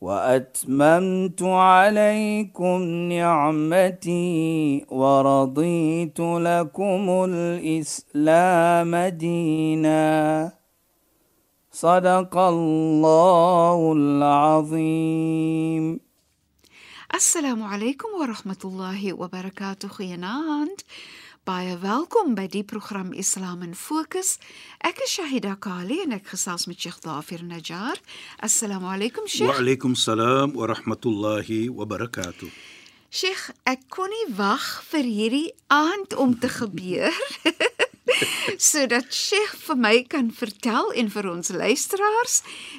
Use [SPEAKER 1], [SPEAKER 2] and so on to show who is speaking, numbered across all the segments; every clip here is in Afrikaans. [SPEAKER 1] واتممت عليكم نعمتي ورضيت لكم الاسلام دينا صدق الله العظيم
[SPEAKER 2] Assalamu alaykum wa rahmatullahi wa barakatuh. Goeienaand. Baie welkom by die program Islam in Fokus. Ek is Shahida Kali en ek gesels met Sheikh Dafir Najjar. Assalamu alaykum Sheikh.
[SPEAKER 3] وعليكم السلام ورحمة الله وبركاته
[SPEAKER 2] Sheikh, ek kon nie wag vir hierdie aand om te gebeur. sodat Sheikh vir my kan vertel en vir ons luisteraars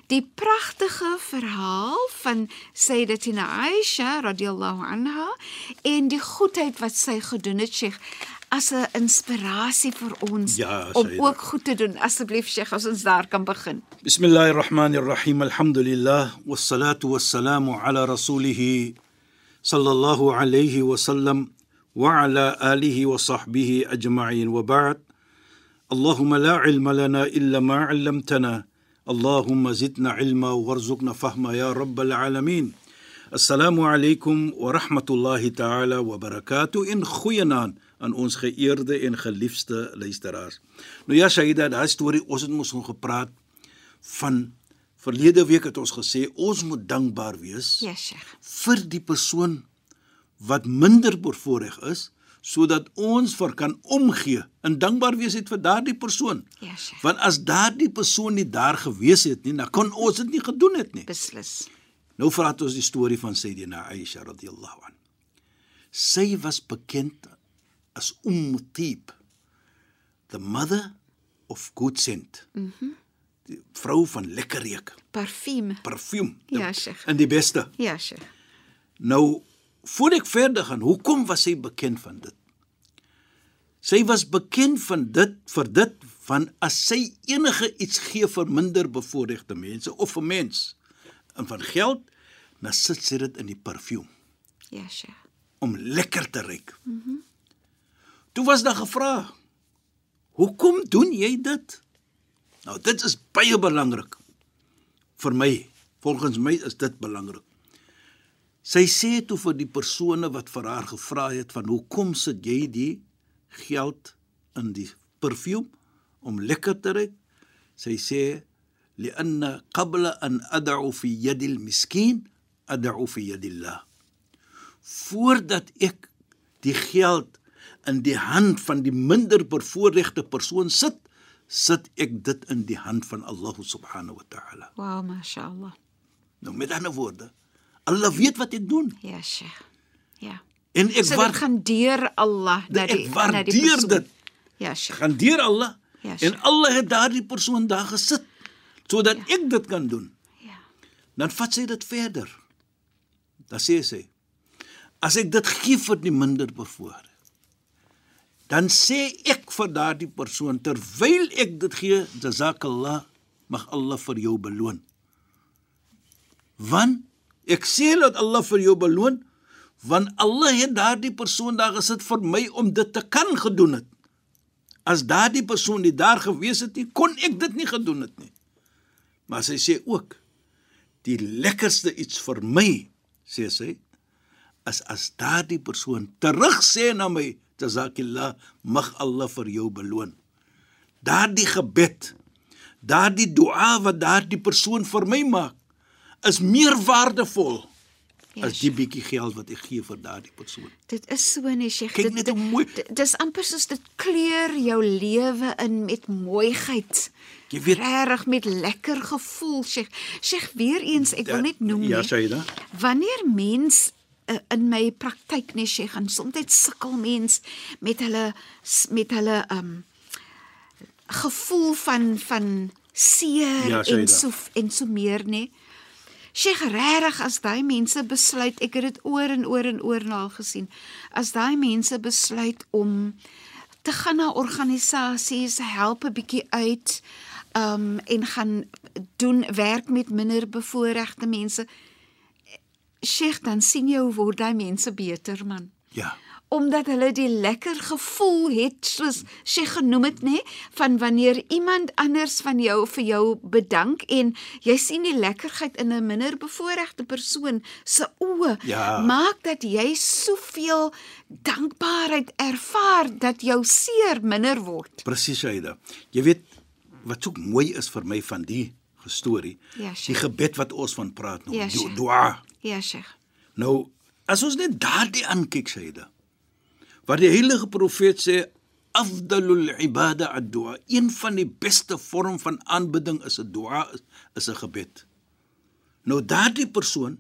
[SPEAKER 2] die pragtige verhaal van Sayyidatina Aisha radhiyallahu anha en die goedheid wat sy gedoen het Sheikh as 'n inspirasie vir ons
[SPEAKER 3] Ja,
[SPEAKER 2] om
[SPEAKER 3] Sayyida.
[SPEAKER 2] ook goed te doen asseblief Sheikh as ons daar kan begin.
[SPEAKER 3] بسم الله الرحمن الرحيم الحمد لله والصلاة والسلام على رسوله صلى الله عليه وسلم وعلى آله وصحبه أجمعين وبعد اللهم لا علم لنا إلا ما علمتنا اللهم زدنا علما وارزقنا فهما يا رب العالمين السلام عليكم ورحمة الله تعالى وبركاته إن goeienaand aan ons geëerde en geliefde luisteraars. Nou ja, Shaida, daai storie ons het mos nog gepraat van verlede week het ons gesê ons moet dankbaar wees
[SPEAKER 2] Ja Sheikh.
[SPEAKER 3] vir die persoon wat minder bevoordeel is sodat ons vir kan omgee en dankbaar wees het vir daardie persoon.
[SPEAKER 2] Ja Sheikh.
[SPEAKER 3] Want as daardie persoon nie daar gewees het nie, dan kon ons dit nie gedoen het nie.
[SPEAKER 2] Beslis.
[SPEAKER 3] Nou verraat ons die storie van Sayyidina Aisha radhiyallahu an. Sy was bekend as Umm Tib, the mother of good scent. Mhm. Mm die vrou van lekker reuk,
[SPEAKER 2] Parfuum.
[SPEAKER 3] parfuum.
[SPEAKER 2] Ja, Sheikh.
[SPEAKER 3] En die beste.
[SPEAKER 2] Ja Sheikh.
[SPEAKER 3] Nou, voor ek verder gaan, hoekom was sy bekend van dit? Sy was bekend van dit vir dit van as sy enige iets gee vir minderbevoorregte mense of vir mens en van geld, dan sit sy dit in die parfuum
[SPEAKER 2] Ja Sheikh.
[SPEAKER 3] om lekker te ruik. Mhm. Mm Toe was daar gevra: "Hoekom doen jy dit?" Nou dit is baie belangrik vir my. Volgens my is dit belangrik. Sy sê toe vir die persone wat vir haar gevra het van hoekom sit jy die geld in die parfuum om lekker te ruik? Sy sê لأن قبل أن أدع في يد المسكين أدع في يد الله voordat ek die geld in die hand van die minder bevoorregte persoon sit, sit ek dit in die hand van Allah subhanahu wa ta'ala.
[SPEAKER 2] Wow, mashallah.
[SPEAKER 3] Nou met ander woorde, Allah weet wat ek doen
[SPEAKER 2] Ja Sheikh. Ja.
[SPEAKER 3] en ek
[SPEAKER 2] So dit
[SPEAKER 3] waard- Nee,
[SPEAKER 2] gaan deur Allah na
[SPEAKER 3] Ek
[SPEAKER 2] die na die
[SPEAKER 3] waardeer
[SPEAKER 2] persoon.
[SPEAKER 3] dit.
[SPEAKER 2] Ja, Sheikh.
[SPEAKER 3] gaan deur Allah
[SPEAKER 2] Ja,
[SPEAKER 3] en
[SPEAKER 2] Sheikh.
[SPEAKER 3] Allah het daardie persoon daar gesit sodat ek dit kan doen.
[SPEAKER 2] Ja.
[SPEAKER 3] Dan vat sy dit verder. Dan sê sy: As ek dit gee vir die minder bevoorregte, dan sê ek vir daardie persoon terwyl ek dit gee, jazakallah, mag Allah vir jou beloon. Want ek sê dat Allah vir jou beloon, want Allah het daardie persoon daar gesit vir my om dit te kan gedoen het. As daardie persoon nie daar gewees het nie, kon ek dit nie gedoen het nie. Maar sy sê ook die lekkerste iets vir my, sê sy, is as daardie persoon terug sê na my, jazakillah, mag Allah vir jou beloon. Daardie gebed, daardie dua wat daardie persoon vir my maak, is meer waardevol
[SPEAKER 2] Ja,
[SPEAKER 3] as die bietjie geld wat ek gee vir daardie persoon.
[SPEAKER 2] Dit is so nee Sheikh.
[SPEAKER 3] Kyk
[SPEAKER 2] Dit-
[SPEAKER 3] net
[SPEAKER 2] dit-
[SPEAKER 3] hoe mooi-
[SPEAKER 2] dit- Dis amper soos dit kleur jou lewe in met mooiheid.
[SPEAKER 3] Jy weet-
[SPEAKER 2] regtig met lekker gevoel Sheikh. Sheikh weer eens, ek wil net noem
[SPEAKER 3] Ja,
[SPEAKER 2] nee,
[SPEAKER 3] Shaida.
[SPEAKER 2] Wanneer mens uh, in my praktyk nee Sheikh, en soms sukkel mens met hulle s- met hulle um gevoel van van seer
[SPEAKER 3] Ja,
[SPEAKER 2] en
[SPEAKER 3] Shaida.
[SPEAKER 2] so en so meer nê. nee. Sheikh, regtig as daai mense besluit, ek het dit oor en oor en oor na al gesien. As daai mense besluit om te gaan na organisasies, help 'n bietjie uit, um en gaan doen werk met minderbevoorregte mense. Sheikh, dan sien jy hoe word daai mense beter, man
[SPEAKER 3] Ja.
[SPEAKER 2] omdat hulle die lekker gevoel het soos sy genoem het nê van wanneer iemand anders van jou vir jou bedank en jy sien die lekkerheid in 'n minderbevoorregte persoon se oë
[SPEAKER 3] Ja.
[SPEAKER 2] maak dat jy soveel dankbaarheid ervaar dat jou seer minder word
[SPEAKER 3] Presies, Aida. Jy weet wat ook mooi is vir my van die storie.
[SPEAKER 2] Ja,
[SPEAKER 3] die
[SPEAKER 2] Sheikh.
[SPEAKER 3] gebed wat ons van praat nou,
[SPEAKER 2] Ja,
[SPEAKER 3] du-
[SPEAKER 2] Sheikh.
[SPEAKER 3] dua.
[SPEAKER 2] ja sheikh
[SPEAKER 3] Nou, as ons net daardie aankyk, Aida. Wat die heilige profeet sê, afdalul ibada ad-du'a. Een van die beste vorm van aanbidding is 'n dua, is- is 'n gebed. Nou daardie persoon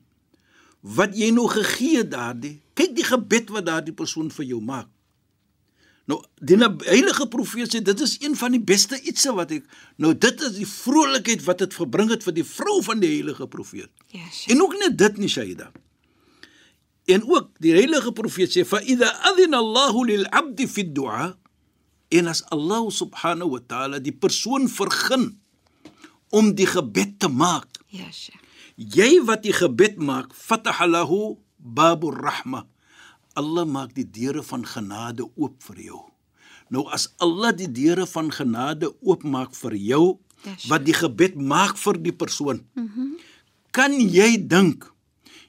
[SPEAKER 3] wat jy nou gegee het daardie, kyk die gebed wat daardie persoon vir jou maak. Nou, die na- heilige profeet sê dit is een van die beste ietsie wat ek nou dit is die vrolikheid wat dit verbring het vir die vrou van die heilige profeet.
[SPEAKER 2] Ja, Sheikh.
[SPEAKER 3] en ook net dit nie Shaida. En ook die heilige profeet sê fa idha adhina Allah lil 'abd fi ad-du'a en as Allah subhanahu wa ta'ala die persoon vergun om die gebed te maak.
[SPEAKER 2] ja sheikh
[SPEAKER 3] Jy wat die gebed maak, fatahalahu babur rahma. Allah maak die deure van genade oop vir jou. Nou as Allah die deure van genade oopmaak vir jou
[SPEAKER 2] Yes.
[SPEAKER 3] wat die gebed maak vir die persoon. Mm -hmm.
[SPEAKER 2] Mhm.
[SPEAKER 3] Kan jy dink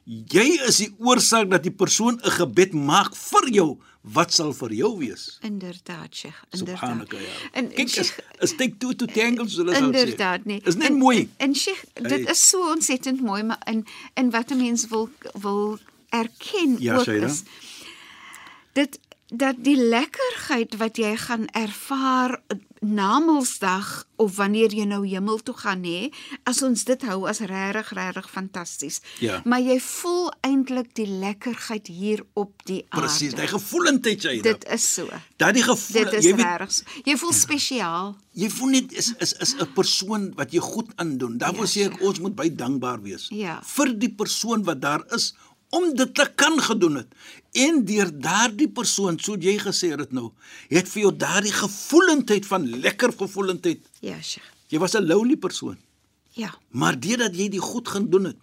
[SPEAKER 3] jy is die oorsaak dat die persoon 'n gebed maak vir jou wat sal vir jou wees?
[SPEAKER 2] inderdaad sheikh inderdaad
[SPEAKER 3] Subhanaka ya.
[SPEAKER 2] en, en
[SPEAKER 3] Kyk is
[SPEAKER 2] Sheikh,
[SPEAKER 3] is take two to tangle so dit
[SPEAKER 2] Inderdaad nee.
[SPEAKER 3] Is net
[SPEAKER 2] En-
[SPEAKER 3] mooi.
[SPEAKER 2] En, en Sheikh, dit
[SPEAKER 3] Hey.
[SPEAKER 2] is so ontsettend mooi, maar in in wat 'n mens wil wil erken
[SPEAKER 3] Ja,
[SPEAKER 2] ook
[SPEAKER 3] Shaida.
[SPEAKER 2] is dit dat die lekkerheid wat jy gaan ervaar na Mondsdag of wanneer jy nou hemel toe gaan nê, as ons dit hou as regtig regtig fantasties.
[SPEAKER 3] Ja.
[SPEAKER 2] Maar jy voel eintlik die lekkerheid hier op die aarde.
[SPEAKER 3] Presies, daai gevoelendheid jy.
[SPEAKER 2] Ah, Dit is so.
[SPEAKER 3] Daardie gevoel,
[SPEAKER 2] Dit is
[SPEAKER 3] jy weet, Ja.
[SPEAKER 2] regtig. so. Jy voel spesiaal.
[SPEAKER 3] jy voel net is is is 'n persoon wat jy goed aandoen. Daarvoor sê ek ons moet baie dankbaar wees
[SPEAKER 2] Ja.
[SPEAKER 3] vir die persoon wat daar is om dit te kan gedoen het. En deur daardie persoon, so jy gesê dit nou, het vir jou daardie gevoelendheid van lekker gevoelendheid.
[SPEAKER 2] Ja, Sheikh.
[SPEAKER 3] Jy was 'n lonely persoon,
[SPEAKER 2] Ja.
[SPEAKER 3] maar deurdat jy dit goed gedoen het,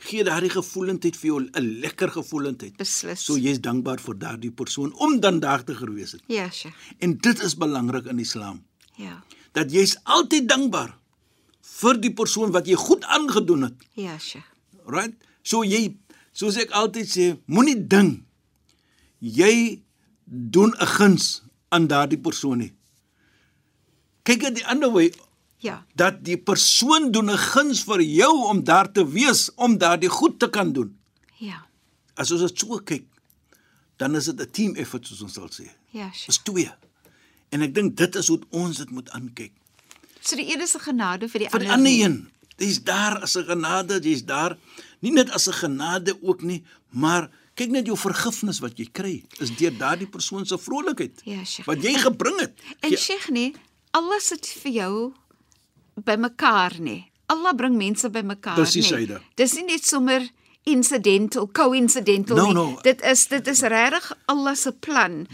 [SPEAKER 3] gee daardie gevoelendheid vir jou 'n lekker gevoelendheid.
[SPEAKER 2] Beslis.
[SPEAKER 3] So jy's dankbaar vir daardie persoon om dan daagdiger gewees het.
[SPEAKER 2] Ja, Sheikh.
[SPEAKER 3] En dit is belangrik in Islam.
[SPEAKER 2] Ja.
[SPEAKER 3] dat jy's altyd dankbaar vir die persoon wat jy goed aangedoen het.
[SPEAKER 2] Ja, Sheikh.
[SPEAKER 3] Right? So jy soos ek altyd sê, moenie ding jy doen 'n guns aan daardie persoon nie. Kyk dit die ander way
[SPEAKER 2] Ja.
[SPEAKER 3] dat die persoon doen 'n guns vir jou om daar te wees, om daardie goed te kan doen.
[SPEAKER 2] Ja.
[SPEAKER 3] As ons dit so kyk, dan is dit 'n team effort soos ons sal sê.
[SPEAKER 2] Ja. Sheikh.
[SPEAKER 3] Dis twee. En ek dink dit is hoe ons dit moet aankyk.
[SPEAKER 2] So die een is 'n genade vir die
[SPEAKER 3] vir die
[SPEAKER 2] ander.
[SPEAKER 3] ander een. Dis daar as 'n genade, dis daar nie net as 'n genade ook nie, maar kyk net jou vergifnis wat jy kry is deur daardie persoon se vrolikheid
[SPEAKER 2] Ja, Sheikh.
[SPEAKER 3] wat jy gebring het.
[SPEAKER 2] En
[SPEAKER 3] Ja,
[SPEAKER 2] Sheikh nee, alles sit vir jou bymekaar nee. Allah bring mense bymekaar
[SPEAKER 3] Presies,
[SPEAKER 2] nee.
[SPEAKER 3] Aida.
[SPEAKER 2] Dis nie net sommer incidental, coincidental
[SPEAKER 3] No,
[SPEAKER 2] nie.
[SPEAKER 3] no.
[SPEAKER 2] Dit is dit is regtig Allah se plan.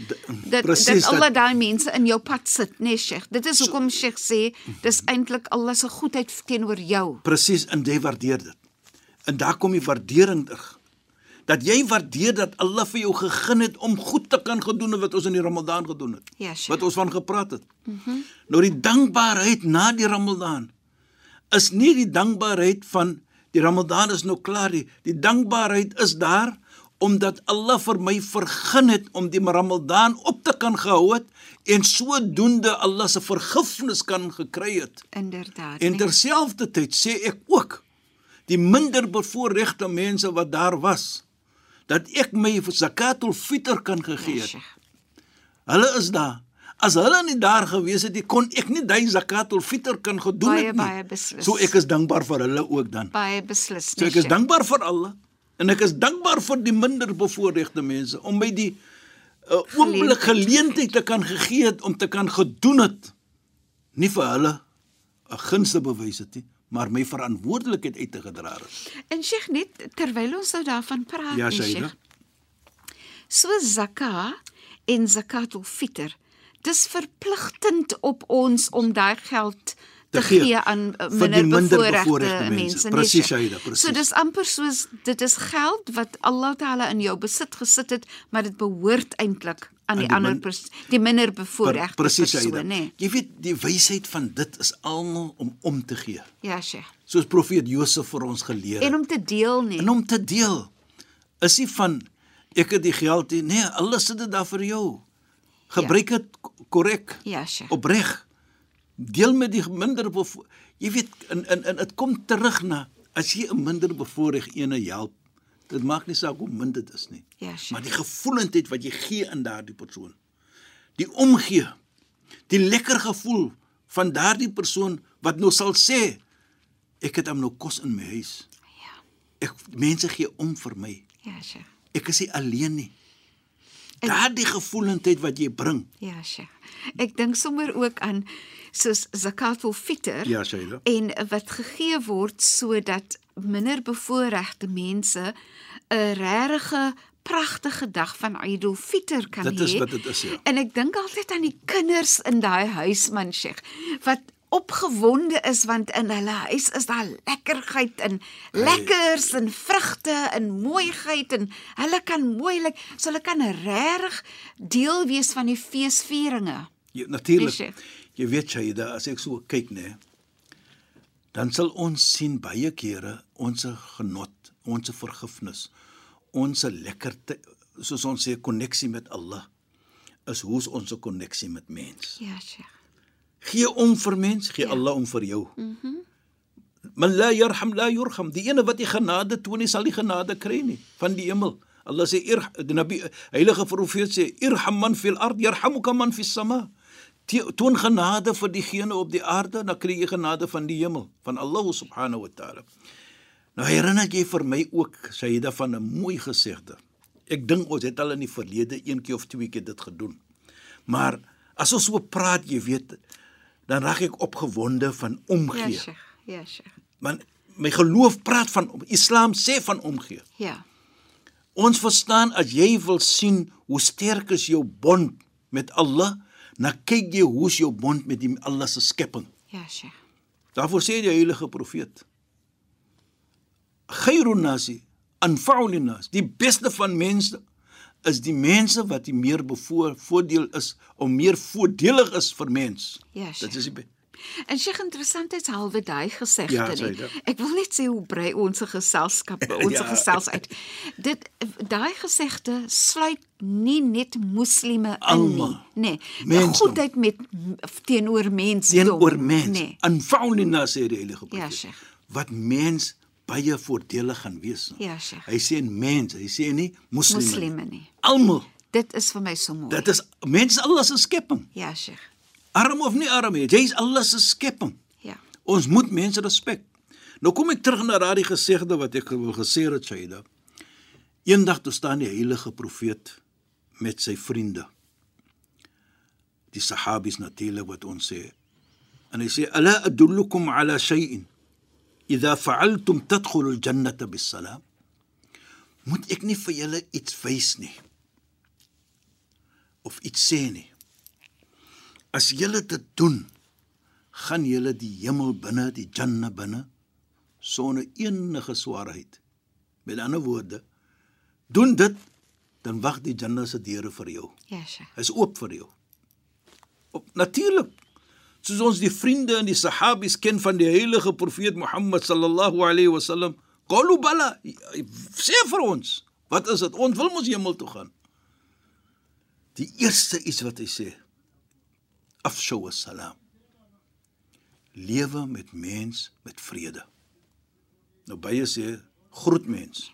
[SPEAKER 2] Dat
[SPEAKER 3] Presies,
[SPEAKER 2] dat Allah
[SPEAKER 3] dat-
[SPEAKER 2] daai mense in jou pad sit, nee Sheikh. Dit is hoekom Sheikh sê dis eintlik Allah se goedheid teenoor jou.
[SPEAKER 3] presies en jy waardeer dit. En daar kom die waardering terug. Dat jy waardeer dat Allah vir jou gegee het om goed te kan gedoen het wat ons in die Ramadan gedoen het.
[SPEAKER 2] Ja, Sheikh. Mhm.
[SPEAKER 3] wat ons van gepraat het. Mm -hmm. Nou die dankbaarheid na die Ramadan is nie die dankbaarheid van die Ramadan is nou klaar nie. Die dankbaarheid is daar omdat Allah vir my vergun het om die Ramadan op te kan gehou het en sodoende Allah se vergifnis kan gekry het.
[SPEAKER 2] Inderdaad.
[SPEAKER 3] En
[SPEAKER 2] nee.
[SPEAKER 3] terselfdertyd sê ek ook die minder bevoorregte mense wat daar was dat ek my zakatul fitr kan gegee
[SPEAKER 2] ja,
[SPEAKER 3] het.
[SPEAKER 2] Sheikh.
[SPEAKER 3] Hulle is daar. As hulle nie daar gewees het nie, kon ek nie daai zakatul fitr kan gedoen
[SPEAKER 2] Baie,
[SPEAKER 3] het nie.
[SPEAKER 2] baie beslis.
[SPEAKER 3] So ek is dankbaar vir hulle ook dan.
[SPEAKER 2] Baie beslis.
[SPEAKER 3] So
[SPEAKER 2] nee,
[SPEAKER 3] ek is
[SPEAKER 2] Sheikh.
[SPEAKER 3] dankbaar vir Allah en ek is dankbaar vir die minder bevoorregte mense om my die 'n uh, oomblik geleentheid te kan gegee het om te kan gedoen het. Nie vir hulle 'n guns te bewys het nie, maar my verantwoordelikheid uit te gedra het.
[SPEAKER 2] En Sheikh net terwyl ons nou daarvan praat,
[SPEAKER 3] Ja,
[SPEAKER 2] nee,
[SPEAKER 3] Shaida.
[SPEAKER 2] Sheikh. So zakka en zakatul fitr. Dis verpligtend op ons om daai geld te,
[SPEAKER 3] Te
[SPEAKER 2] gee,
[SPEAKER 3] gee
[SPEAKER 2] aan eh,
[SPEAKER 3] vir die
[SPEAKER 2] minderbevoorregte
[SPEAKER 3] minderbevoorregte mense.
[SPEAKER 2] mense. nee,
[SPEAKER 3] Presies,
[SPEAKER 2] Sheikh.
[SPEAKER 3] Shaida, presies.
[SPEAKER 2] So dis amper soos dit is geld wat Allah Taala in jou besit gesit het, maar dit behoort eintlik aan die,
[SPEAKER 3] die
[SPEAKER 2] ander
[SPEAKER 3] min-
[SPEAKER 2] pers, die minderbevoorregte
[SPEAKER 3] Presies,
[SPEAKER 2] persoon,
[SPEAKER 3] Shaida.
[SPEAKER 2] nê? Nee.
[SPEAKER 3] Jy weet, die wysheid van dit is almal om om te gee,
[SPEAKER 2] Ja, Sheikh.
[SPEAKER 3] soos profeet Josef vir ons geleer het.
[SPEAKER 2] En om te deel, nee.
[SPEAKER 3] Ja. en om te deel. Is nie van ek het die geld nie. Nee, alles sit dit daar vir jou. Gebruik dit k- korrek.
[SPEAKER 2] Ja, Sheikh.
[SPEAKER 3] Opreg. Deel met die minder bevo- jy weet in in in dit kom terug na as jy 'n minder bevoorreg ene help. Dit maak nie saak hoe min dit is nie.
[SPEAKER 2] Ja, Sheikh.
[SPEAKER 3] maar die gevoelendheid wat jy gee aan daardie persoon. Die omgee. Die lekker gevoel van daardie persoon wat nou sal sê ek het hom nou kos in my huis.
[SPEAKER 2] Ja.
[SPEAKER 3] Ek mense gee om vir my.
[SPEAKER 2] Ja, Sheikh.
[SPEAKER 3] Ek is nie alleen nie.
[SPEAKER 2] En-
[SPEAKER 3] Daardie gevoelendheid wat jy bring.
[SPEAKER 2] Ja, sja. Ek dink sommer ook aan soos zakatul fitr
[SPEAKER 3] Ja, Shaila.
[SPEAKER 2] en wat gegee word sodat minder bevoorregte mense 'n regte pragtige dag van Eid ul Fitr kan hê.
[SPEAKER 3] Dit is wat dit is, ja.
[SPEAKER 2] En ek dink altyd aan die kinders in daai huis man Sheikh wat opgewonde is want in hulle huis is daar lekkerheid en lekkers en vrugte en mooiheid en hulle kan moeilik so hulle kan regtig deel wees van die feesvieringe.
[SPEAKER 3] Jy
[SPEAKER 2] Nee,
[SPEAKER 3] natuurlik.
[SPEAKER 2] Sheikh.
[SPEAKER 3] Jy weet Shaida, as ek so kyk nê, dan sal ons sien baie kere ons genot, ons vergifnis, ons lekkerte soos ons sê koneksie met Allah is hoe is ons koneksie met mens.
[SPEAKER 2] Ja, Sheikh.
[SPEAKER 3] Gee om vir mens, gee ja. Allah om vir jou. Mhm. Mm Man la yarham la yurham. Die ene wat die genade toon, nie sal die genade kry nie van die hemel. Allah sê ir die Nabi heilige profeet sê irham man fil ard yarhamuka man fis sama. Te- Toon genade vir diegene op die aarde, dan kry jy genade van die hemel, van Allah subhanahu wa ta'ala. Nou herinner jy vir my ook Sayyida van 'n mooi gesegde. Ek dink ons het al in die verlede een keer of twee keer dit gedoen. Maar as ons so praat, jy weet, dan raak ek opgewonde van
[SPEAKER 2] Ja,
[SPEAKER 3] omgee.
[SPEAKER 2] Sheikh. Ja, Sheikh.
[SPEAKER 3] Want my geloof praat van om- Islam sê van omgee.
[SPEAKER 2] Ja.
[SPEAKER 3] Ons verstaan as jy wil sien hoe sterk is jou bond met Allah, dan kyk jy hoe is jou bond met die Allah se skepping.
[SPEAKER 2] Ja, Sheikh.
[SPEAKER 3] Daarvoor sê die heilige profeet: "Khairun nasi anfa'u lin-nas." Die beste van mense is die mense wat die meer bevoor voordeel is om meer voordelig is vir mens.
[SPEAKER 2] Ja, Sheikh.
[SPEAKER 3] Dit is die be-
[SPEAKER 2] En sy interessantheidshalwe daai gesegde
[SPEAKER 3] Ja,
[SPEAKER 2] nie.
[SPEAKER 3] Saida.
[SPEAKER 2] Ek wil net sê hoe brei ons se geselskap, ons
[SPEAKER 3] Ja.
[SPEAKER 2] gesels uit. Dit daai gesegde sluit nie net moslime in nie,
[SPEAKER 3] Almal.
[SPEAKER 2] nê. Nee,
[SPEAKER 3] Mensdom.
[SPEAKER 2] goedheid met teenoor mensdom.
[SPEAKER 3] teenoor mens.
[SPEAKER 2] Nee.
[SPEAKER 3] Anfa'u lin-nas sê die heilige
[SPEAKER 2] Ja,
[SPEAKER 3] profeet.
[SPEAKER 2] Sheikh.
[SPEAKER 3] wat mens baie voordelig gaan wees.
[SPEAKER 2] Ja, Sheikh.
[SPEAKER 3] Hy sê mens, hy sê nie moslime.
[SPEAKER 2] Moslime Nee. nie.
[SPEAKER 3] Almal.
[SPEAKER 2] Dit is vir my so mooi.
[SPEAKER 3] Dit is mens Allah se skepping.
[SPEAKER 2] Ja, Sheikh.
[SPEAKER 3] Arm of nie arm, jy is Allah se skepping.
[SPEAKER 2] Ja.
[SPEAKER 3] Ons moet mense respek. Nou kom ek terug na daardie gesegde wat ek wil gesê het, Shaida. Eendag toe staan die heilige profeet met sy vriende. Die sahabies natuurlik wat ons sê. En hy sê: "Ala adullukum ala shay'in idha fa'altum tadkhulu al-jannata bis-salam." Moet ek nie vir julle iets wys nie. Of iets sê nie. As julle dit doen, gaan julle die hemel binne, die janna binne sonder enige swaarheid. Met ander woorde, doen dit, dan wag die janna se deure vir jou.
[SPEAKER 2] Ja, Sheikh.
[SPEAKER 3] Hy's oop vir jou. Op natuurlik. Soos ons die vriende en die sahabies ken van die heilige profeet Mohammed sallallahu alayhi wasallam, qalu bala, sê vir ons, wat is dit? Ons wil mos hemel toe gaan. Die eerste iets wat hy sê, afshaw as-salam. Lewe met mens met vrede. Nou baie sê groet mens.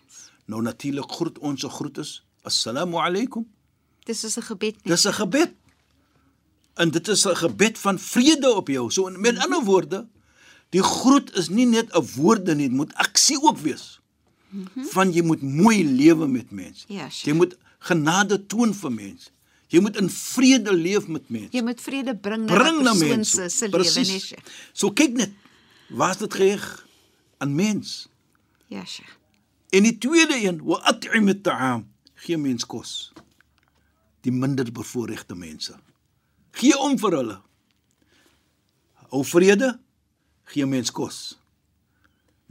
[SPEAKER 3] Nou natuurlik groet ons se groet is assalamu alaykum.
[SPEAKER 2] Dis is 'n gebed nie.
[SPEAKER 3] Dis 'n gebed. En dit is 'n gebed van vrede op jou. So in- met ander woorde, die groet is nie net 'n woorde nie, dit moet aksie ook wees. Van jy moet mooi lewe met mense.
[SPEAKER 2] Mhm. Ja, sure.
[SPEAKER 3] Jy moet genade toon vir mense. Jy moet in vrede leef met mense.
[SPEAKER 2] Jy moet vrede bring na 'n
[SPEAKER 3] Bring na
[SPEAKER 2] persoon
[SPEAKER 3] mense.
[SPEAKER 2] se se lewe, nee,
[SPEAKER 3] Presies.
[SPEAKER 2] Sheikh.
[SPEAKER 3] So kyk net was dit geheg aan mens.
[SPEAKER 2] Ja, Sheikh.
[SPEAKER 3] En die tweede een, wa at'im at-ta'am, gee mens kos. Die minder bevoorregte mense. Gee om vir hulle. Hou vrede, gee mens kos.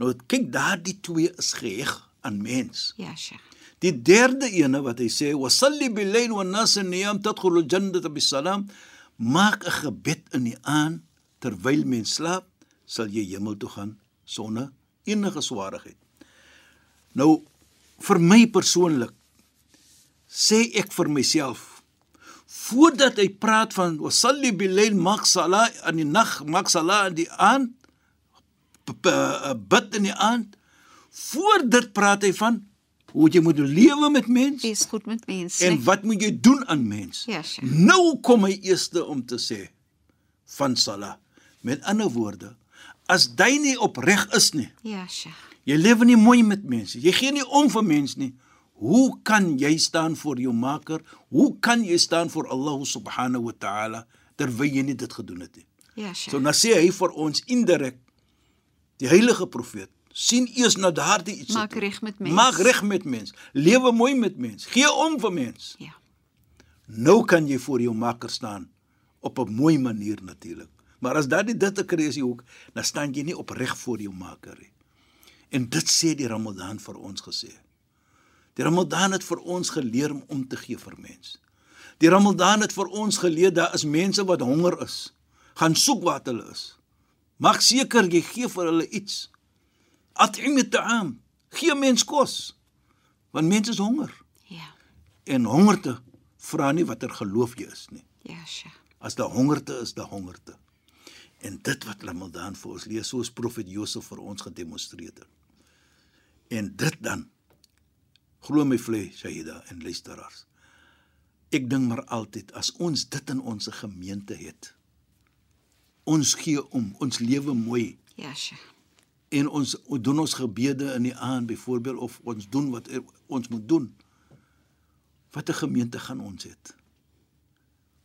[SPEAKER 3] Nou kyk daardie twee is geheg aan mens.
[SPEAKER 2] Ja, Sheikh.
[SPEAKER 3] Die derde ene wat hy sê, "Wasalli bil-layl wan-nas niyam tadkhulu al-jannata bis-salam." Maak 'n gebed in die aand terwyl mens slaap, sal jy hemel toe gaan sonder enige swaarheid. Nou vir my persoonlik sê ek vir myself voordat hy praat van wasalli bil-layl maak sala in die nag, maak sala in die aand, b- b- bid in die aand, voor dit praat hy van hoe jy moet lewe met mens
[SPEAKER 2] Wees goed met mense.
[SPEAKER 3] en
[SPEAKER 2] nee.
[SPEAKER 3] wat moet jy doen aan mens.
[SPEAKER 2] Ja, Sheikh.
[SPEAKER 3] Nou kom hy eerste om te sê van sala. Met ander woorde, as jy nie opreg is nie,
[SPEAKER 2] Ja, Sheikh.
[SPEAKER 3] jy lewe nie mooi met mense, jy gee nie om vir mense nie, hoe kan jy staan voor jou Maker? Hoe kan jy staan voor Allah subhanahu wa ta'ala terwyl jy nie dit gedoen het nie?
[SPEAKER 2] Ja, Sheikh.
[SPEAKER 3] So nou sê hy vir ons indirek die heilige profeet sien eers na daardie iets.
[SPEAKER 2] Maak
[SPEAKER 3] toe.
[SPEAKER 2] reg met mens.
[SPEAKER 3] Maak reg met mens. Lewe mooi met mens. Gee om vir mens.
[SPEAKER 2] Ja.
[SPEAKER 3] Nou kan jy voor jou makker staan op 'n mooi manier natuurlik. Maar as daardie dit te kry is jy ook, dan staan jy nie opreg voor jou makker nie. En dit sê die Ramadan vir ons gesê. Die Ramadan het vir ons geleer om om te gee vir mense. Die Ramadan het vir ons geleer daar is mense wat honger is. Gaan soek wat hulle is. Maak seker jy gee vir hulle iets. At'im at-ta'am. Gee mens kos. Want mense is honger
[SPEAKER 2] Ja.
[SPEAKER 3] en hongerte vra nie watter geloof jy is nie.
[SPEAKER 2] Ja, Sheikh.
[SPEAKER 3] As daar hongerte is, daar hongerte. En dit wat Ramadan vir ons leer, soos profet Josef vir ons gedemonstreer het. En dit dan glo my vlei Shahida en luisteraars. Ek dink maar altyd as ons dit in ons gemeente het. Ons gee om, ons lewe mooi
[SPEAKER 2] Ja, Sheikh.
[SPEAKER 3] en ons ons doen ons gebede in die aand byvoorbeeld of ons doen wat e- ons moet doen. Wat 'n gemeente gaan ons het.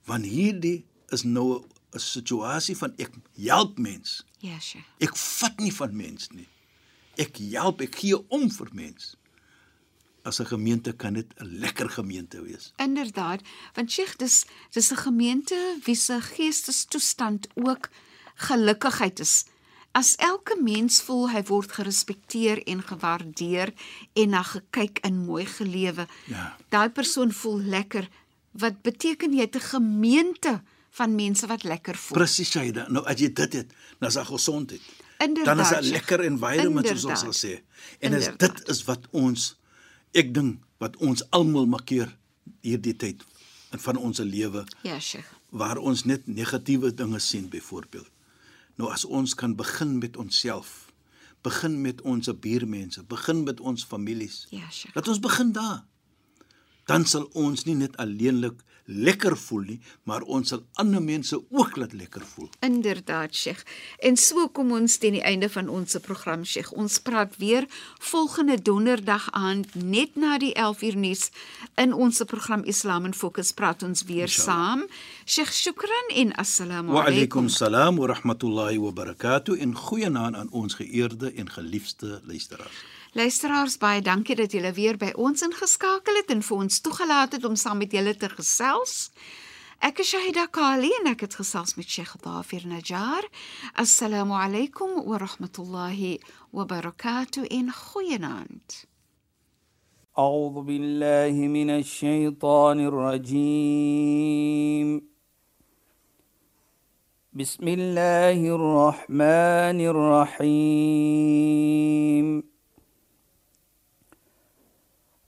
[SPEAKER 3] Want hierdie is nou 'n- 'n situasie van ek help mens.
[SPEAKER 2] Ja, Sheikh.
[SPEAKER 3] Ek vat nie van mens nie. Ek help, ek gee om vir mens. As 'n gemeente kan dit 'n lekker gemeente wees.
[SPEAKER 2] Inderdaad, want Sheikh, dis dis 'n gemeente wie se geestestoestand ook gelukkigheid is. As elke mens voel hy word gerespekteer en gewaardeer en na gekyk en mooi gelewe.
[SPEAKER 3] Ja.
[SPEAKER 2] Daai persoon voel lekker wat beteken jy het 'n gemeente van mense wat lekker voel.
[SPEAKER 3] Presies, Shaida. Nou as jy dit het, dan is daar gesondheid.
[SPEAKER 2] Inderdaad,
[SPEAKER 3] Dan is daar
[SPEAKER 2] Sheikh.
[SPEAKER 3] lekker environment soos ons
[SPEAKER 2] Inderdaad.
[SPEAKER 3] sal sê. En is
[SPEAKER 2] Inderdaad.
[SPEAKER 3] dit is wat ons ek dink wat ons almal markeer hierdie tyd in van ons lewe
[SPEAKER 2] Ja, Sheikh.
[SPEAKER 3] waar ons net negatiewe dinge sien byvoorbeeld. Nou as ons kan begin met onsself, begin met ons buurmense, begin met ons families.
[SPEAKER 2] Ja, Sheikh.
[SPEAKER 3] Laat ons begin daar. Dan sal ons nie net alleenlik lekker voel nie, maar ons sal ander mense ook laat lekker voel.
[SPEAKER 2] Inderdaad, Sheikh. En so kom ons teen die einde van ons program, Sheikh. Ons praat weer volgende donderdag aand net na die 11uur nuus in ons program Islam in Fokus praat ons weer saam. Sheikh, shukran en assalamu
[SPEAKER 3] Wa alaykum
[SPEAKER 2] alaykum.
[SPEAKER 3] salaam wa rahmatullahi wa barakatuh en goeienaand aan ons geëerde en geliefde luisteraars.
[SPEAKER 2] Luisteraars, baie dankie dat julle weer by ons ingeskakel het en vir ons toegelaat het om saam met julle te gesels. Ek is Shahida Kali en ek het gesels met Sheikh Dafir Najjar. Assalamu alaykum wa rahmatullahi wa barakatuh in goeienaand.
[SPEAKER 1] أعوذ بالله من الشيطان الرجيم بسم الله الرحمن الرحيم